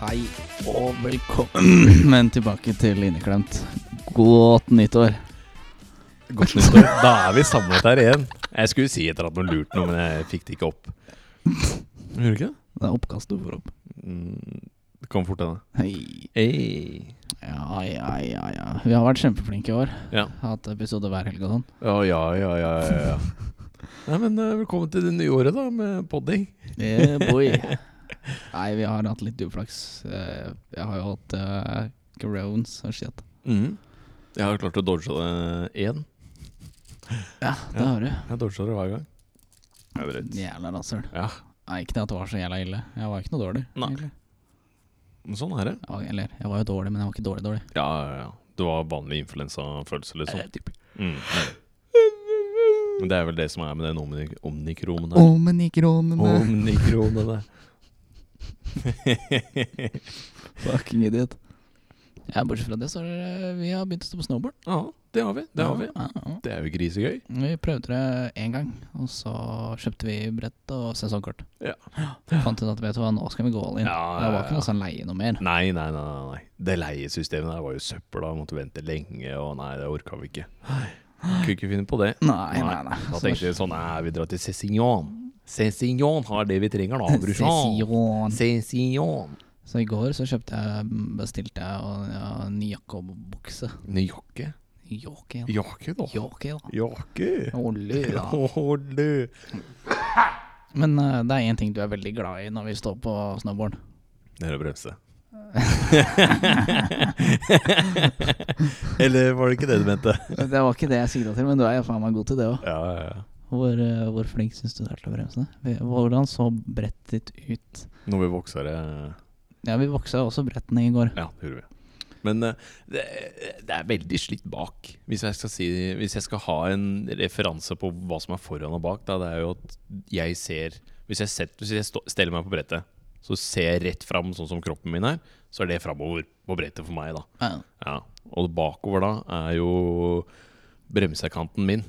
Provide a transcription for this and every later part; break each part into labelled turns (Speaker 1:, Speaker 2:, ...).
Speaker 1: Hei og velkommen tilbake til Inneklemt. Godt nyttår.
Speaker 2: Godt nyttår. Da er vi samlet her igjen. Jeg skulle si etter at noen lurte noe, men jeg fikk det ikke opp. Gjorde du ikke det?
Speaker 1: Det er oppkast du får opp.
Speaker 2: Mm, Det kom fort, denne.
Speaker 1: Hei. Ja, ja, ja, ja. Vi har vært kjempeflinke i år.
Speaker 2: Ja.
Speaker 1: Hatt episode hver helg og sånn.
Speaker 2: Ja, ja, ja, ja, ja, ja. Nei, men eh, velkommen til det nye året, da, med podding.
Speaker 1: Yeah, boy. Nei, vi har hatt litt uflaks. Eh, Jeg har jo hatt uh, groans og shit.
Speaker 2: Mm. Jeg har klart å dodge det én.
Speaker 1: Ja, det
Speaker 2: Ja.
Speaker 1: har du.
Speaker 2: Jeg dodger det hver gang. Det er drøyt.
Speaker 1: Jævla rasshøl.
Speaker 2: Ja,
Speaker 1: Nei, ikke det at det var så jævla ille. Jeg var ikke noe dårlig.
Speaker 2: Nei.
Speaker 1: egentlig.
Speaker 2: men sånn er det.
Speaker 1: Ja, eller, jeg var jo dårlig, men jeg var ikke dårlig dårlig.
Speaker 2: Ja, ja, ja. Du har vanlig influensafølelse, liksom.
Speaker 1: Eh.
Speaker 2: Mm. Men det er vel det som er med den omni- omnikronen her.
Speaker 1: Omenikronene.
Speaker 2: Omnikronen der.
Speaker 1: Fucking idiot. Ja, bortsett fra det, så har dere- vi har begynt å stå på snowboard.
Speaker 2: Ja, det har vi. Det har vi.
Speaker 1: Ja, ja.
Speaker 2: Det er jo grisegøy.
Speaker 1: Vi prøvde det én gang, og så kjøpte vi brett og sesongkort.
Speaker 2: Ja.
Speaker 1: Fant ut at vet du hva, nå skal vi gå all in.
Speaker 2: Ja, ja,
Speaker 1: det var ikke
Speaker 2: ja.
Speaker 1: noe sånn leie noe mer.
Speaker 2: Nei, nei, nei. nei, nei. Det leiesystemet der var jo søppel. da Måtte vente lenge, og nei, det orka vi ikke. Kunne ikke finne på det.
Speaker 1: Nei, nei, nei.
Speaker 2: Da tenkte vi sånn, nei, vi drar til Cézignon. Cézignon har det vi trenger da, Bruchon.
Speaker 1: Session.
Speaker 2: Cézignon.
Speaker 1: Så i går så kjøpte jeg mm, bestilte jeg en ja, ny jakke og bukse.
Speaker 2: Nei, Jakke?
Speaker 1: Jakke, ja.
Speaker 2: Jakke, da.
Speaker 1: Jakke, da.
Speaker 2: Jakke.
Speaker 1: Olje, da.
Speaker 2: Åh, du.
Speaker 1: Men eh, det er én ting du er veldig glad i når vi står på snowboard.
Speaker 2: Det er å bremse. Eller var det ikke det du mente?
Speaker 1: Det var ikke det jeg sikta til, men du er jo faen meg god til det òg.
Speaker 2: Ja, ja, ja.
Speaker 1: Hvor, eh, hvor flink syns du du er til å bremse? Hvordan så brettet ditt ut?
Speaker 2: Når vi vokser eh, det
Speaker 1: Ja, vi voksa også brettene i går.
Speaker 2: Ja, det gjorde vi. Men eh, det, det er veldig slitt bak. Hvis jeg, skal si, hvis jeg skal ha en referanse på hva som er foran og bak, da, det er jo at jeg ser Hvis jeg, setter, hvis jeg stå, steller meg på brettet, så ser jeg rett fram sånn som kroppen min er, så er det framover på brettet for meg, da.
Speaker 1: Ja.
Speaker 2: Ja. Og bakover da er jo bremsekanten min.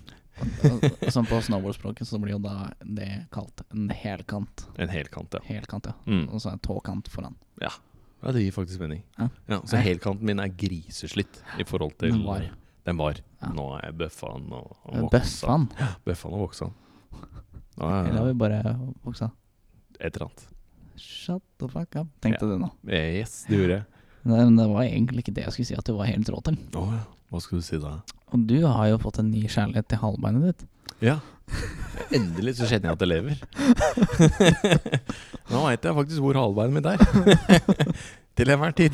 Speaker 1: Og- og Sånn på snowboardspråket så blir jo da det kalt en helkant.
Speaker 2: En helkant, ja.
Speaker 1: Helkant, ja.
Speaker 2: Mm.
Speaker 1: Og så en tåkant foran.
Speaker 2: Ja. ja, det gir faktisk mening.
Speaker 1: Ja.
Speaker 2: Ja, så helkanten min er griseslitt i forhold til
Speaker 1: Den var.
Speaker 2: Den var.
Speaker 1: Ja.
Speaker 2: Nå er jeg bøffan og, og voksa.
Speaker 1: Bøffan.
Speaker 2: Bøffan og voksa. Ja,
Speaker 1: Eller
Speaker 2: ja,
Speaker 1: har
Speaker 2: ja.
Speaker 1: vi bare voksa?
Speaker 2: Et eller annet.
Speaker 1: Shut the fuck up, tenkte du nå.
Speaker 2: Eh, Yes, det gjorde jeg.
Speaker 1: Nei, Men det var egentlig ikke det jeg skulle si at du var helt rå til.
Speaker 2: Å ja. Hva skulle du si da?
Speaker 1: Og du har jo fått en ny kjærlighet til halebeinet ditt.
Speaker 2: Ja. Endelig så kjenner jeg at det lever. Nå veit jeg faktisk hvor halebeinet mitt er. Til enhver tid.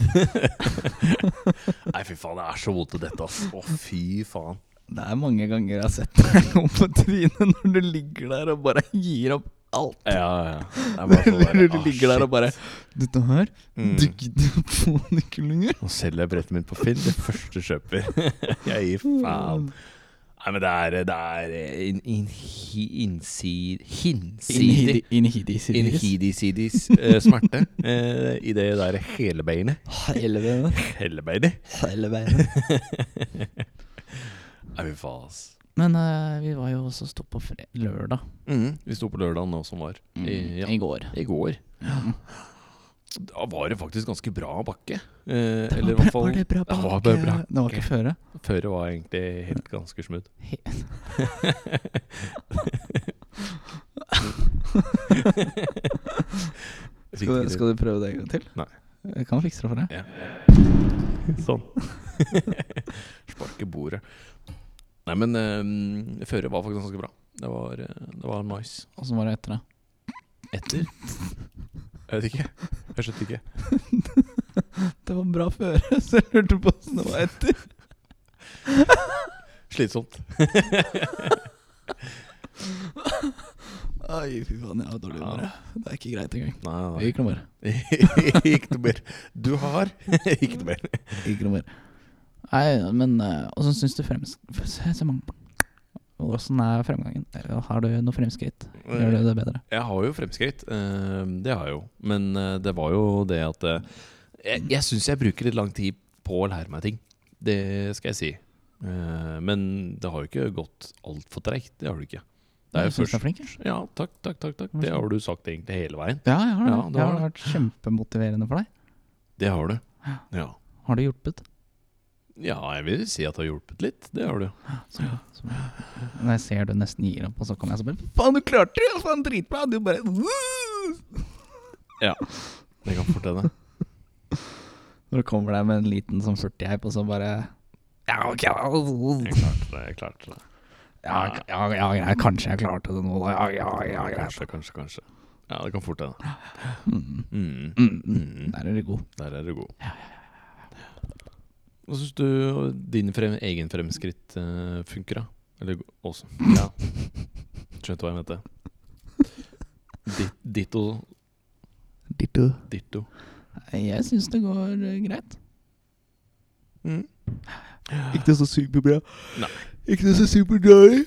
Speaker 2: Nei, fy faen, det er så vondt å dette, ass. Å, fy faen.
Speaker 1: Det er mange ganger jeg har sett deg gå på trynet når du ligger der og bare gir opp alt.
Speaker 2: Ja, ja. Det er bare sånn der,
Speaker 1: Når du
Speaker 2: ah,
Speaker 1: ligger der
Speaker 2: shit.
Speaker 1: og bare Dette her
Speaker 2: Mm.
Speaker 1: Du gidder få den ikke lenger.
Speaker 2: Nå selger jeg brettet mitt på Finn. Det første kjøper. jeg gir faen. Nei, men det er, det er eh, in, in, hi, insid, hinsidig Inhidisidis eh, smerte eh, i det der helebeinet.
Speaker 1: Helvete.
Speaker 2: Helebeinet?
Speaker 1: Helvete.
Speaker 2: Nei, fy faen, ass.
Speaker 1: Men eh, vi var jo også stå på fre lørdag
Speaker 2: Mm, vi sto på lørdagen nå som var. I, ja,
Speaker 1: i går.
Speaker 2: I går. Da var det faktisk ganske bra bakke. Eh, eller i hvert fall
Speaker 1: det bra
Speaker 2: det var bare bra.
Speaker 1: Det var ikke føre.
Speaker 2: Føret var egentlig helt ganske smooth.
Speaker 1: He- Skal, du- skal du prøve det en gang til?
Speaker 2: Nei.
Speaker 1: Jeg kan fikse det for deg.
Speaker 2: Ja. Sånn. Sparke bordet. Nei, men eh, føret var faktisk ganske bra. Det var, eh, det var nice.
Speaker 1: Og så var det etter det.
Speaker 2: Etter? Jeg vet ikke. Jeg skjønte ikke.
Speaker 1: Det var bra føre, så jeg lurte på åssen det var etter.
Speaker 2: Slitsomt.
Speaker 1: Ai, fy faen, jeg har dårlig
Speaker 2: Ja.
Speaker 1: humør. jeg. Det er ikke greit engang.
Speaker 2: Nei, nei,
Speaker 1: Ikke noe mer.
Speaker 2: nei. ikke noe mer. Du har ikke noe mer.
Speaker 1: Ikke noe mer. Nei, men eh, Og så syns du fremst Hvordan er fremgangen? Eh, Har du noe fremskritt? Gjør du det bedre?
Speaker 2: Jeg har jo fremskritt, eh, det har jeg jo. Men eh, det var jo det at eh, Jeg, jeg syns jeg bruker litt lang tid på å lære meg ting. Det skal jeg si. Eh, men det har jo ikke gått altfor treigt. Det har det ikke. Det er
Speaker 1: Jeg
Speaker 2: jo
Speaker 1: synes du er
Speaker 2: først
Speaker 1: flink. jeg.
Speaker 2: Ja, takk, takk, takk. takk. Det har du sagt egentlig hele veien.
Speaker 1: Ja, jeg har det.
Speaker 2: Ja, du
Speaker 1: det
Speaker 2: har
Speaker 1: har vært kjempemotiverende for deg.
Speaker 2: Det har du. Ja.
Speaker 1: Har det hjulpet?
Speaker 2: ja, jeg vil si at det har hjulpet litt. Det har du.
Speaker 1: Så, så, når jeg ser du nesten gir opp, og så kommer jeg så bare Faen, du klarte det! Faen, dritbra! Du bare
Speaker 2: Det kan fort hende.
Speaker 1: Når du kommer deg med en liten sånn 40-hype, og så bare ja, ok, ja,
Speaker 2: Jeg klarte det. jeg klarte det
Speaker 1: ja, ja, ja, ja, kanskje jeg klarte det nå, da. Ja, ja, ja, ja.
Speaker 2: Kanskje, kanskje, kanskje. Ja, det kan fort hende.
Speaker 1: Mm,
Speaker 2: Mm.
Speaker 1: mm,
Speaker 2: Mm.
Speaker 1: der er du god.
Speaker 2: Der er du god. Hva syns du din frem, egen fremskritt eh, funker, da? Eller også Ja. Skjønte hva jeg mente. Dit, ditto
Speaker 1: Ditto.
Speaker 2: ditto.
Speaker 1: Jeg syns det går eh, greit.
Speaker 2: Mm,
Speaker 3: Ikke så superbra.
Speaker 2: Nei.
Speaker 3: Ikke så superdårlig.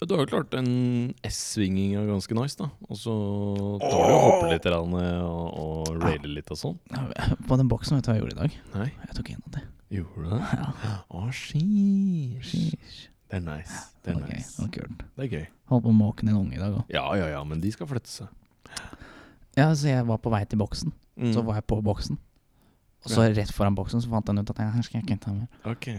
Speaker 2: Du har jo klart en S-svinging er ganske nice, da. Og så tar du og hopper litt grann, eh, og, og railer litt og sånn.
Speaker 1: eh, På den boksen, vet du hva jeg gjorde i dag?
Speaker 2: Nei,
Speaker 1: Jeg tok en av de.
Speaker 2: gjorde du det? Å, sheesh. Det er nice. Det er
Speaker 1: Ok,
Speaker 2: nice.
Speaker 1: det var kult.
Speaker 2: Det er gøy.
Speaker 1: Holdt på å måke ned en unge i dag òg.
Speaker 2: Ja, ja, ja, men de skal flytte seg.
Speaker 1: Ja, så jeg var på vei til boksen.
Speaker 2: Mm.
Speaker 1: Så var jeg på boksen. Og så rett foran boksen så fant han ut at jeg, her skal jeg ikke ta mer.
Speaker 2: Ok.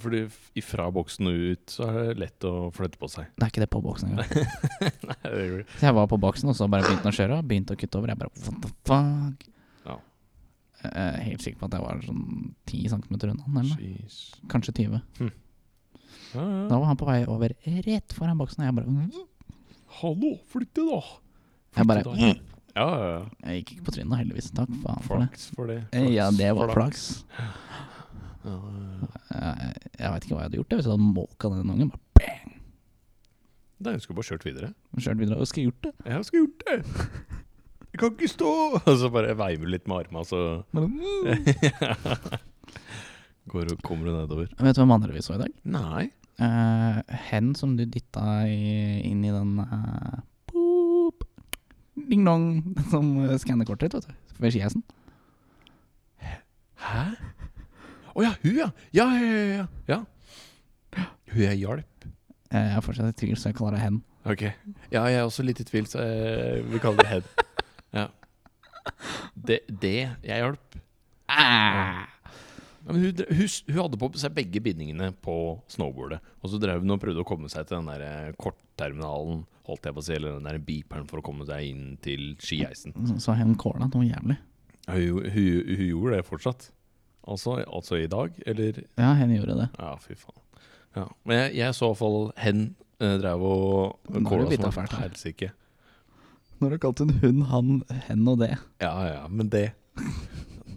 Speaker 2: Fordi f- ifra boksen og ut, så er det lett å flytte på seg.
Speaker 1: Det er ikke det på boksen engang.
Speaker 2: Nei, det er jo-
Speaker 1: Så jeg var på boksen, og så bare begynte han å kjøre. og Begynte å kutte over. Jeg bare what the fuck?
Speaker 2: Ja.
Speaker 1: Jeg er helt sikker på at jeg var sånn 10 cm unna han, eller noe.
Speaker 2: Jeez.
Speaker 1: kanskje 20.
Speaker 2: Ja, ja.
Speaker 1: Da var han på vei over rett foran boksen, og jeg bare "Mm,
Speaker 2: Hallo, flytt deg, da!
Speaker 1: Jeg bare
Speaker 2: Flytt deg da. Ja, ja, ja.
Speaker 1: Jeg gikk ikke på trynet, heldigvis. Takk faen for det. Eh,
Speaker 2: Flaks for det.
Speaker 1: Ja,
Speaker 2: Flaks
Speaker 1: det var
Speaker 2: for
Speaker 1: flaks.
Speaker 2: Ja, ja, ja.
Speaker 1: Jeg, jeg veit ikke hva jeg hadde gjort. Jeg, hvis jeg hadde måka den ungen, bare
Speaker 2: Nei, jeg skulle bare kjørt videre.
Speaker 1: kjørt videre. Hva skal jeg gjort det?
Speaker 2: Jeg skulle gjort det! Jeg kan ikke stå! Og så bare veiver litt med armene, så
Speaker 1: mm.
Speaker 2: Går og kommer du nedover.
Speaker 1: Vet du hvem andre vi så i dag?
Speaker 2: Nei.
Speaker 1: Eh, hen som du dytta i, inn i den eh, boop, Ding dong Den som eh, skanner kortet ditt, vet du. Ved skiheisen.
Speaker 2: Hæ? Å ja, hun, ja! Ja, ja, ja. ja. ja. Hun jeg hjalp.
Speaker 1: Eh, jeg er fortsatt i tvil, så jeg kaller det hen.
Speaker 2: Ok. Ja, jeg er også litt i tvil, så jeg vil kalle det head. Ja. Det, det jeg hjalp
Speaker 1: Ah!
Speaker 2: ja, men hun, dre- hun, s- hun hadde på seg begge bindingene på snowboardet. Og så drev hun og prøvde å komme seg til den der eh, kortterminalen, holdt jeg på å si, eller den der beeperen for å komme seg inn til skieisen.
Speaker 1: Så, så hen kåla noe jævlig.
Speaker 2: Ja, Hun, hun, hun gjorde det fortsatt. Altså, altså i dag, eller
Speaker 1: Ja, hen gjorde det.
Speaker 2: Ja, fy faen. Ja. Men jeg, jeg så i hvert fall hen eh, drev og
Speaker 1: Nå har du
Speaker 2: kåla
Speaker 1: byttet
Speaker 2: som
Speaker 1: fælt
Speaker 2: en
Speaker 1: her.
Speaker 2: helsike.
Speaker 1: Når du kalte en hund han, hen og det
Speaker 2: Ja, ja, men det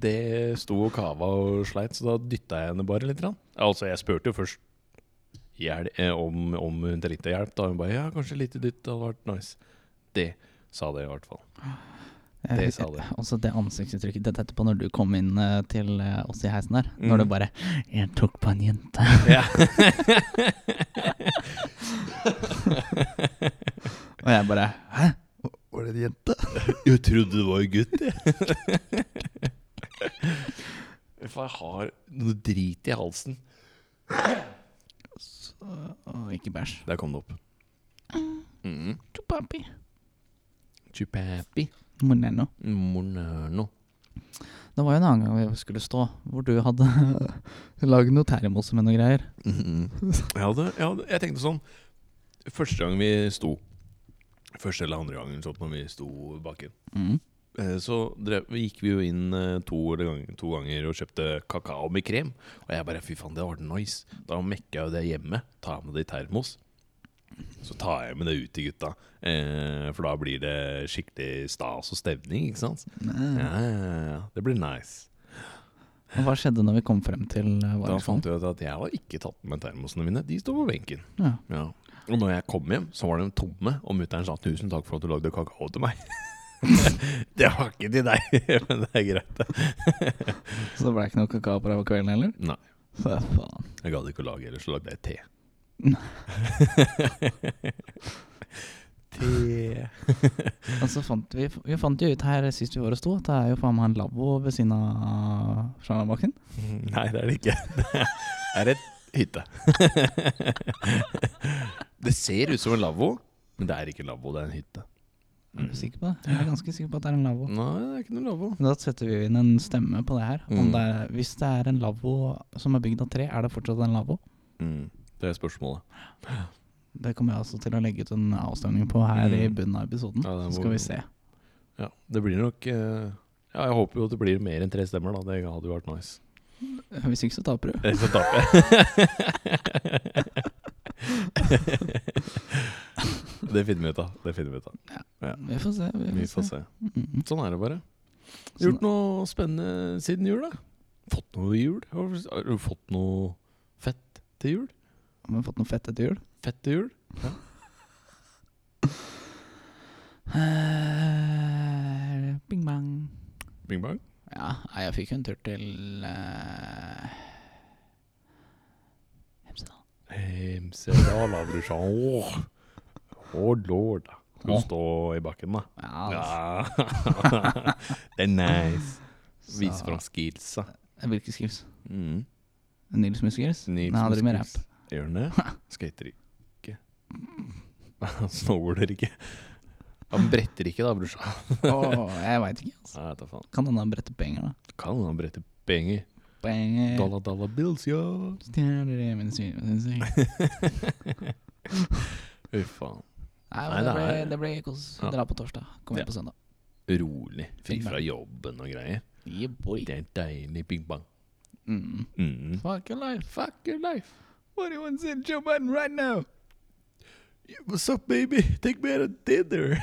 Speaker 2: Det sto og kava og sleit, så da dytta jeg henne bare litt. grann. Altså, jeg spurte jo først hjel- eh, om, om hun trengte hjelp. Da hun bare 'ja, kanskje litt dytt, det hadde vært nice'. Det sa det i hvert fall.
Speaker 1: Jeg-
Speaker 2: Det sa det.
Speaker 1: Eh, Også det ansiktsuttrykket ditt etterpå når du kom inn eh, til eh, oss i heisen der.
Speaker 2: Mm.
Speaker 1: Når du bare 'Jeg tok på en jente'.
Speaker 2: Ja.
Speaker 1: Og jeg bare Hæ?
Speaker 3: Var det en jente?
Speaker 2: Jeg trodde det var en gutt, jeg. For jeg har noe drit i halsen.
Speaker 1: Å, ikke bæsj.
Speaker 2: Der kom det opp. Mm.
Speaker 1: Tupapi.
Speaker 2: Chupapi.
Speaker 1: Morneno.
Speaker 2: Mornano.
Speaker 1: Det var jo en annen gang vi skulle stå, hvor du hadde lagd noe termos med noe greier.
Speaker 2: jeg, hadde, jeg, hadde, jeg tenkte sånn Første gang vi sto Første eller andre gangen sånn, når vi sto bakken
Speaker 1: Mm.
Speaker 2: eh, Så drev, gikk vi jo inn eh, to, eller gang, to ganger og kjøpte kakao med krem Og jeg bare, fy faen, det hadde vært nice Da mekket jeg jo det hjemme Tar jeg med det i termos Så tar jeg med det ut til gutta eh, For da blir det skikkelig stas og stemning, ikke sant?
Speaker 1: Mm.
Speaker 2: Ja, ja, ja, det blir nice
Speaker 1: Og hva skjedde når vi kom frem til eh,
Speaker 2: Da
Speaker 1: Varekshallen?
Speaker 2: fant jeg ut at jeg har ikke tatt med termosene mine De står på benken
Speaker 1: Ja.
Speaker 2: Ja. Og når jeg kom hjem, så var de tomme, og mutter'n sa 'tusen takk for at du lagde kakao til meg'. det var ikke til deg, men det er greit. det.
Speaker 1: Så det ble ikke noe kakao på deg på kvelden heller?
Speaker 2: Nei,
Speaker 1: Fy faen.
Speaker 2: jeg gadd ikke å lage, ellers så lagde jeg te. det
Speaker 1: Og så fant vi, vi fant jo ut her sist vi var hos to, at det er jo faen meg en lavvo ved siden av Sjarnabakken.
Speaker 2: Nei, det er det ikke. Det er et hytte. det ser ut som en lavvo, men det er ikke en lavvo, det er en hytte.
Speaker 1: Er
Speaker 2: Mm.
Speaker 1: du sikker på det? Jeg er ganske sikker på at det er en lavvo.
Speaker 2: Nei, det er ikke noen lavvo.
Speaker 1: Men Da setter vi jo inn en stemme på det her. Om
Speaker 2: Mm.
Speaker 1: det er, hvis det er en lavvo som er bygd av tre, er det fortsatt en lavvo?
Speaker 2: Mm, det er spørsmålet.
Speaker 1: Det kommer jeg altså til å legge ut en avstemning på her i
Speaker 2: Mm.
Speaker 1: bunnen av episoden.
Speaker 2: Ja, det
Speaker 1: så
Speaker 2: må
Speaker 1: skal
Speaker 2: vi-
Speaker 1: vi se.
Speaker 2: Ja, det blir nok eh, Ja, jeg håper jo at det blir mer enn tre stemmer, da. Det hadde jo vært nice.
Speaker 1: Hvis ikke, så taper du.
Speaker 2: Ellers så taper jeg. det finner vi ut av. Det finner vi ut av.
Speaker 1: Vi får se. Vi får
Speaker 2: Vi får
Speaker 1: se.
Speaker 2: se.
Speaker 1: Mm.
Speaker 2: Sånn er det bare.
Speaker 1: Sånn-
Speaker 2: Gjort noe spennende siden jul, da? Fått noe i jul? Har du- Har du fått noe fett til jul?
Speaker 1: Har vi fått noe fett etter jul?
Speaker 2: Fett til jul?
Speaker 1: Eh, bing bang.
Speaker 2: Bing bang?
Speaker 1: Ja, nei, jeg fikk jo en tur til eh, Hemsedal.
Speaker 2: Hemsedal Abrushan. Åh, Åh, lord. da. Skal du stå i bakken, da?
Speaker 1: Ja, altså,
Speaker 2: Ja. det er nice. Vise
Speaker 1: så-
Speaker 2: fram skillsa.
Speaker 1: Hvilke skills?
Speaker 2: Mm.
Speaker 1: Nils Muskels?
Speaker 2: Nils
Speaker 1: Nei, han driver med
Speaker 2: Muskels.
Speaker 1: rap.
Speaker 2: Gjør han det? Skater ikke. Han snowboarder ikke. Han bretter ikke, da, brorsan.
Speaker 1: Åh, jeg veit ikke. Altså.
Speaker 2: Nei, ta faen.
Speaker 1: Kan hende han bretter penger, da.
Speaker 2: Kan han brette penger?
Speaker 1: Penger
Speaker 2: Dalla dalla bills, ja.
Speaker 1: Stjerner i mine syne, syns jeg.
Speaker 2: Fy faen.
Speaker 1: Nei,
Speaker 2: Nei,
Speaker 1: men det
Speaker 2: det
Speaker 1: blir,
Speaker 2: er-
Speaker 1: det blir kos.
Speaker 2: Ja.
Speaker 1: Dra på torsdag. Kom
Speaker 2: Ja.
Speaker 1: hjem på søndag.
Speaker 2: Rolig. Fri
Speaker 1: Big
Speaker 2: fra
Speaker 1: bang.
Speaker 2: jobben og greier.
Speaker 1: Yeah, boy.
Speaker 2: Det er en deilig big bang.
Speaker 1: Mm.
Speaker 2: Mm.
Speaker 1: Fuck your life.
Speaker 2: Fuck your life.
Speaker 1: What do you want to say to Joe Biden right now?
Speaker 2: What's up, baby? Take me out of dinner.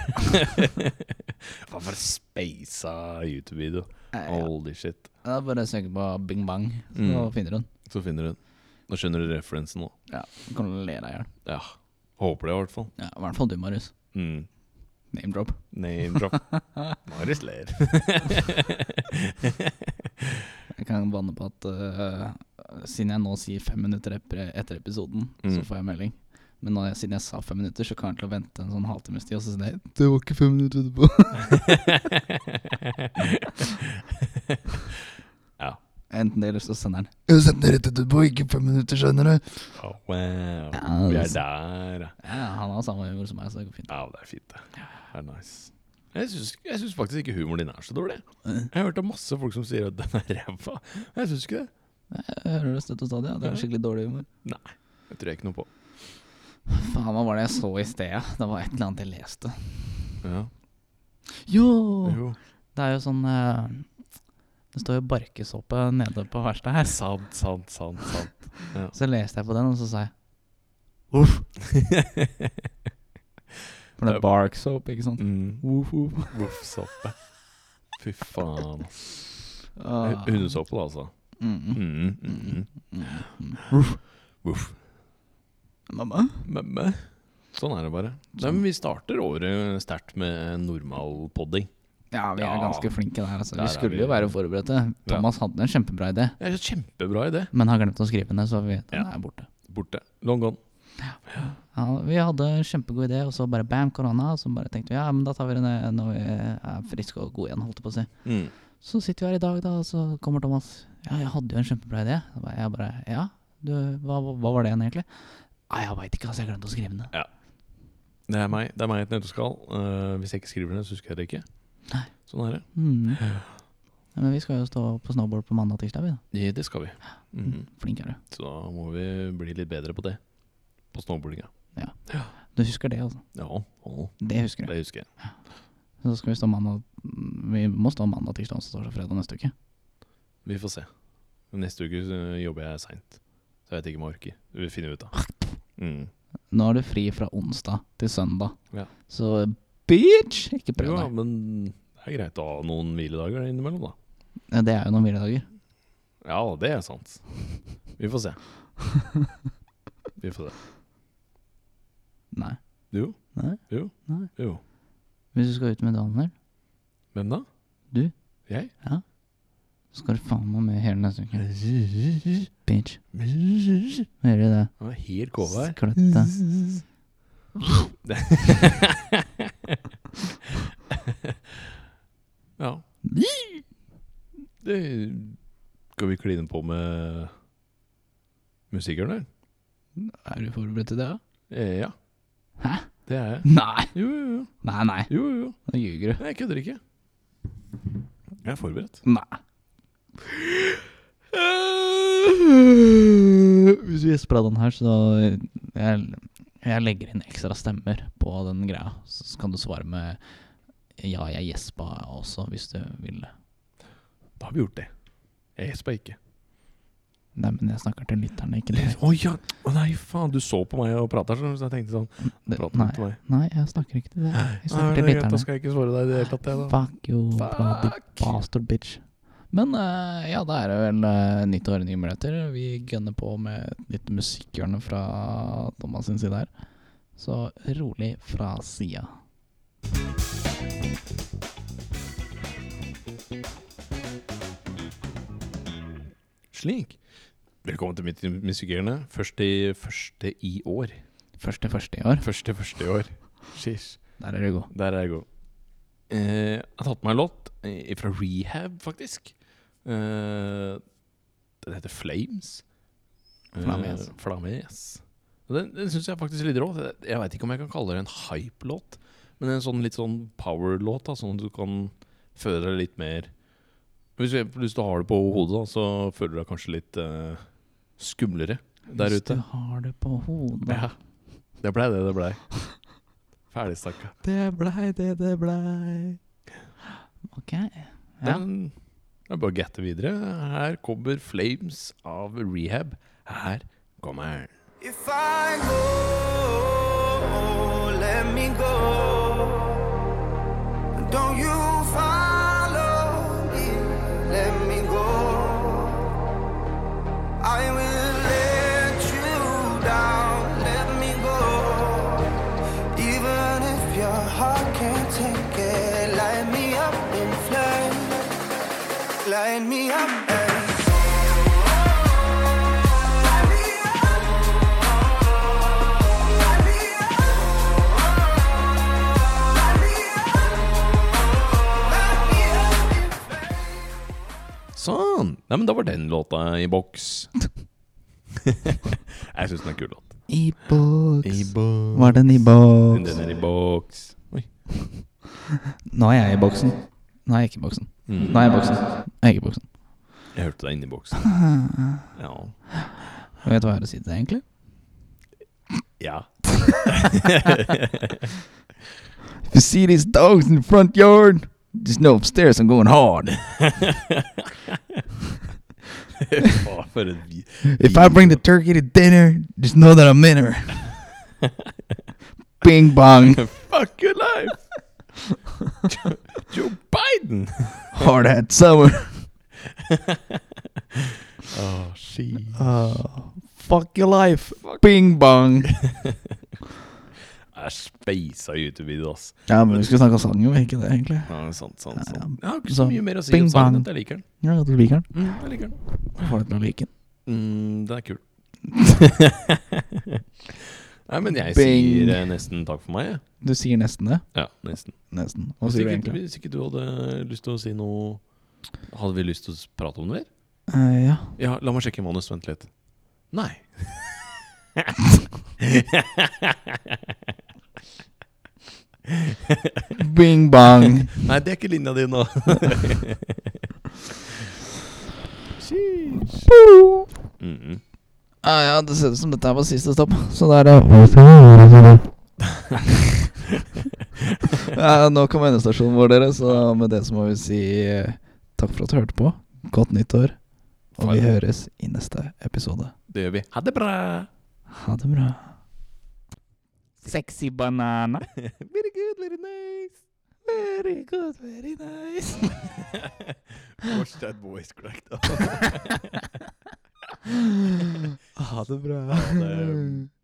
Speaker 2: Hva for en speisa YouTube-video?
Speaker 1: Nei, ja.
Speaker 2: Holy shit.
Speaker 1: Det er bare å søke på Bing Bang, så
Speaker 2: Mm.
Speaker 1: finner du den.
Speaker 2: Så finner du den. Nå skjønner du referensen nå.
Speaker 1: Ja, du kan le deg i hjel.
Speaker 2: Ja. Håper det, i hvert fall.
Speaker 1: Ja, I hvert fall du, Marius.
Speaker 2: Mm.
Speaker 1: Name drop.
Speaker 2: Name drop. Marius ler.
Speaker 1: Jeg kan banne på at øh, siden jeg nå sier fem minutter etter, etter episoden, så
Speaker 2: Mm.
Speaker 1: får jeg melding. Men når jeg, siden jeg sa fem minutter, så kan jeg til å vente en sånn halvtimes tid. Og så sier jeg,
Speaker 3: Det var ikke fem minutter etterpå.
Speaker 1: enten det eller så sender den.
Speaker 3: Jeg sendte den rett etterpå, ikke fem minutter senere.
Speaker 2: Oh, wow.
Speaker 1: Ja,
Speaker 2: Vi
Speaker 1: det-
Speaker 2: er der, ja.
Speaker 1: Ja, han har samme humor som meg, så det går fint.
Speaker 2: Ja, det er fint, det. Det er nice. Jeg syns, jeg syns faktisk ikke humoren din er så dårlig. Jeg har hørt av masse folk som sier at den er ræva. Jeg syns ikke det.
Speaker 1: Jeg hører det støtt og stadig, ja. Det er skikkelig dårlig humor.
Speaker 2: Det tror jeg ikke noe på.
Speaker 1: Faen, hva var det jeg så i sted? ja? Det var et eller annet jeg leste.
Speaker 2: Ja.
Speaker 1: Jo!
Speaker 2: Jo.
Speaker 1: Det er jo sånn eh, Det står jo barkesåpe nede på verkstedet her.
Speaker 2: Sant, sant, sant. sant.
Speaker 1: Så leste jeg på den, og så sa jeg uff. For det er barksoap, ikke sant?
Speaker 2: Mm.
Speaker 1: Uff, uff.
Speaker 2: Voffsoppe. Fy faen. ass.
Speaker 1: Ah.
Speaker 2: Hundesoppe, da, altså.
Speaker 1: Mm, mm,
Speaker 2: Mm, mm,
Speaker 1: mm,
Speaker 2: mm.
Speaker 1: mm, mm.
Speaker 2: Voff.
Speaker 1: Mamma?
Speaker 2: Memme. Sånn er det bare. Nei, men vi starter året sterkt med eh, normal podding.
Speaker 1: Ja, vi er
Speaker 2: Ja.
Speaker 1: ganske flinke der. Altså.
Speaker 2: Der
Speaker 1: Vi
Speaker 2: er
Speaker 1: skulle
Speaker 2: vi.
Speaker 1: jo være forberedte. Thomas hadde en kjempebra idé,
Speaker 2: Det er en kjempebra idé.
Speaker 1: men har glemt å skrive den ned, så vi, den
Speaker 2: Ja.
Speaker 1: er borte.
Speaker 2: Borte. Long gone.
Speaker 1: Ja, vi hadde en kjempegod idé, og så bare bam, korona. Og så bare tenkte vi ja, men da tar vi det ned når vi er friske og gode igjen, holdt jeg på å si.
Speaker 2: Mm.
Speaker 1: Så sitter vi her i dag, da, og så kommer Thomas. Ja, jeg hadde jo en kjempebra idé. Da ba- Jeg bare Ja, du, hva, hva var det igjen, egentlig? Nei, jeg veit ikke, altså. Jeg glemte å skrive den.
Speaker 2: Det er meg. Det er meg et nøtteskall. Eh, hvis jeg ikke skriver det, så husker jeg det ikke.
Speaker 1: Nei.
Speaker 2: Sånn er det.
Speaker 1: Mm. Ja, Men vi skal jo stå på snowboard på mandag og tirsdag, vi da.
Speaker 2: Ja, det skal vi. Mhm.
Speaker 1: Flink er du.
Speaker 2: Så da må vi bli litt bedre på det. På snowboardinga.
Speaker 1: Du husker det, altså.
Speaker 2: Ja, å,
Speaker 1: Det husker du.
Speaker 2: det husker jeg.
Speaker 1: Så skal vi stå mandag Vi må stå mandag, tirsdag, onsdag, torsdag, fredag neste uke.
Speaker 2: Vi får se. Neste uke så jobber jeg seint. Så jeg vet ikke om jeg orker. Vi finner ut av mm.
Speaker 1: Nå er du fri fra onsdag til søndag.
Speaker 2: Ja.
Speaker 1: Så bitch! Ikke prøv
Speaker 2: Jo, ja,
Speaker 1: deg.
Speaker 2: men det er greit å ha noen hviledager innimellom, da.
Speaker 1: Ja, Det er jo noen hviledager.
Speaker 2: Ja, det er sant. Vi får se. Vi får se.
Speaker 1: Nei.
Speaker 2: Jo.
Speaker 1: Nei.
Speaker 2: Jo.
Speaker 1: Nei.
Speaker 2: Jo.
Speaker 1: Hvis du skal ut med Daniel
Speaker 2: Hvem da?
Speaker 1: Du.
Speaker 2: Jeg?
Speaker 1: Ja. Så skal du faen meg med hele neste uke. Bitch. Hører du det?
Speaker 2: Han var helt kåva her.
Speaker 1: Skløtte.
Speaker 2: Ja. Det Skal vi kline på med musikeren, eller?
Speaker 1: Er du forberedt til det? da?
Speaker 2: Eh, ja.
Speaker 1: Hæ?
Speaker 2: Det er jeg.
Speaker 1: Nei.
Speaker 2: Jo, jo, jo.
Speaker 1: Nei, nei.
Speaker 2: jo, jo, jo.
Speaker 1: Nå ljuger du.
Speaker 2: Nei, Jeg kødder ikke. Jeg er forberedt.
Speaker 1: Nei. Hvis du gjesper av den her, så jeg, jeg legger inn ekstra stemmer på den greia. Så så kan du svare med ja, jeg gjespa også, hvis du vil det.
Speaker 2: Da har vi gjort det. Jeg gjespa ikke.
Speaker 1: Nei, men jeg snakker til lytterne, ikke til
Speaker 2: Å
Speaker 1: deg.
Speaker 2: ja! Å nei, faen. Du så på meg og prata sånn, så jeg tenkte sånn
Speaker 1: Det-
Speaker 2: Prat
Speaker 1: Nei,
Speaker 2: litt til meg.
Speaker 1: nei, jeg snakker ikke til deg. Jeg snakker
Speaker 2: Nei, det
Speaker 1: til
Speaker 2: er greit, da
Speaker 1: lytterne.
Speaker 2: skal jeg ikke svare deg i det hele tatt, jeg, da.
Speaker 1: Fuck you, bloody bastard bitch. Men eh, ja, da er det vel eh, nytt år, nye muligheter. Vi gønner på med et nytt musikkhjørne fra Thomas sin side her. Så rolig fra sida.
Speaker 2: Slik. Velkommen til mitt musikerne. Første, første i år.
Speaker 1: Første første i år.
Speaker 2: Første første i år. Sheesh.
Speaker 1: Der er du god.
Speaker 2: Der er jeg god. Eh, jeg har tatt meg en låt eh, fra Rehab, faktisk. Eh, den heter Flames. Eh,
Speaker 1: Flames.
Speaker 2: Flames. Og Den, den syns jeg faktisk er litt rå. Jeg veit ikke om jeg kan kalle det en hype-låt, men en sånn litt sånn power-låt, da, sånn at du kan føle deg litt mer Hvis du, hvis du har det på hodet, da, så føler du deg kanskje litt eh, skumlere der
Speaker 1: Hvis
Speaker 2: ute.
Speaker 1: du har det på hodet.
Speaker 2: Ja. Det blei det det blei. Ferdig snakka.
Speaker 1: Det blei det det blei. Ok. Ja.
Speaker 2: Den det er bare å gette videre. Her kommer Flames av Rehab. Her kommer den.
Speaker 4: If I go, let me go. Don't you follow me, let me go. I will let you down, let me go. Even if your heart can't take it, light me up in flames. Light me up. eh. Light me up.
Speaker 2: Sånn! Nei, men da var den låta i boks. Jeg syns den er kul låt.
Speaker 1: I boks.
Speaker 2: boks.
Speaker 1: Var den i boks?
Speaker 2: Den er i boks. Oi.
Speaker 1: Nå er jeg i boksen. Nå er jeg ikke i boksen.
Speaker 2: Mm.
Speaker 1: Nå er jeg i boksen. Jeg er ikke i boksen.
Speaker 2: Jeg hørte deg inni boksen. Ja.
Speaker 1: Jeg vet hva jeg har å si til deg, egentlig.
Speaker 2: ja.
Speaker 1: If you see these dogs in the front yard, just know upstairs I'm going hard.
Speaker 2: Å, for en vi-
Speaker 1: If I bring the turkey to dinner, just know that I'm in her. Bing bong,
Speaker 2: Fuck your life! Joe- Joe Biden!
Speaker 1: hard hat summer.
Speaker 2: Oh, shit.
Speaker 1: Oh, fuck your life. Bing bong.
Speaker 2: Jeg speisa YouTube-video, ass.
Speaker 1: Ja, men vi skulle snakke om sangen, var ikke det, egentlig?
Speaker 2: Ja, sant, sant, sant.
Speaker 1: Ja,
Speaker 2: Jeg har ikke
Speaker 1: så
Speaker 2: så mye mer å si
Speaker 1: bing
Speaker 2: om
Speaker 1: bang.
Speaker 2: sangen. at Jeg liker den.
Speaker 1: Ja, du liker den.
Speaker 2: Mm, jeg liker den.
Speaker 1: Får deg til å like den.
Speaker 2: Mm, den er kul. Nei, men jeg
Speaker 1: Bing.
Speaker 2: sier eh, nesten takk for meg. jeg.
Speaker 1: Du sier nesten det.
Speaker 2: Ja, nesten.
Speaker 1: Nesten. Hva
Speaker 2: Hvis
Speaker 1: sier du
Speaker 2: ikke,
Speaker 1: egentlig?
Speaker 2: hvis ikke du hadde lyst til å si noe Hadde vi lyst til å s- prate om det mer?
Speaker 1: Eh, ja.
Speaker 2: Ja, la meg sjekke manus. Vent litt. Nei.
Speaker 1: Bing bong.
Speaker 2: Nei, det er ikke linja di nå. Sheesh. Mm -mm.
Speaker 1: Ja, ja, det ser ut som dette her var siste stopp, så da er det ja, Nå kom endestasjonen vår, dere, så med det så må vi si eh, takk for at du hørte på. Godt nytt år, og vi
Speaker 2: Farvel.
Speaker 1: høres i neste episode.
Speaker 2: Det gjør vi. Ha det bra.
Speaker 1: Ha det bra. Sexy banana.
Speaker 2: Very good, very nice.
Speaker 1: Very good, very nice.
Speaker 2: Watch that voice crack, da.
Speaker 1: ha det bra.
Speaker 2: Ha det.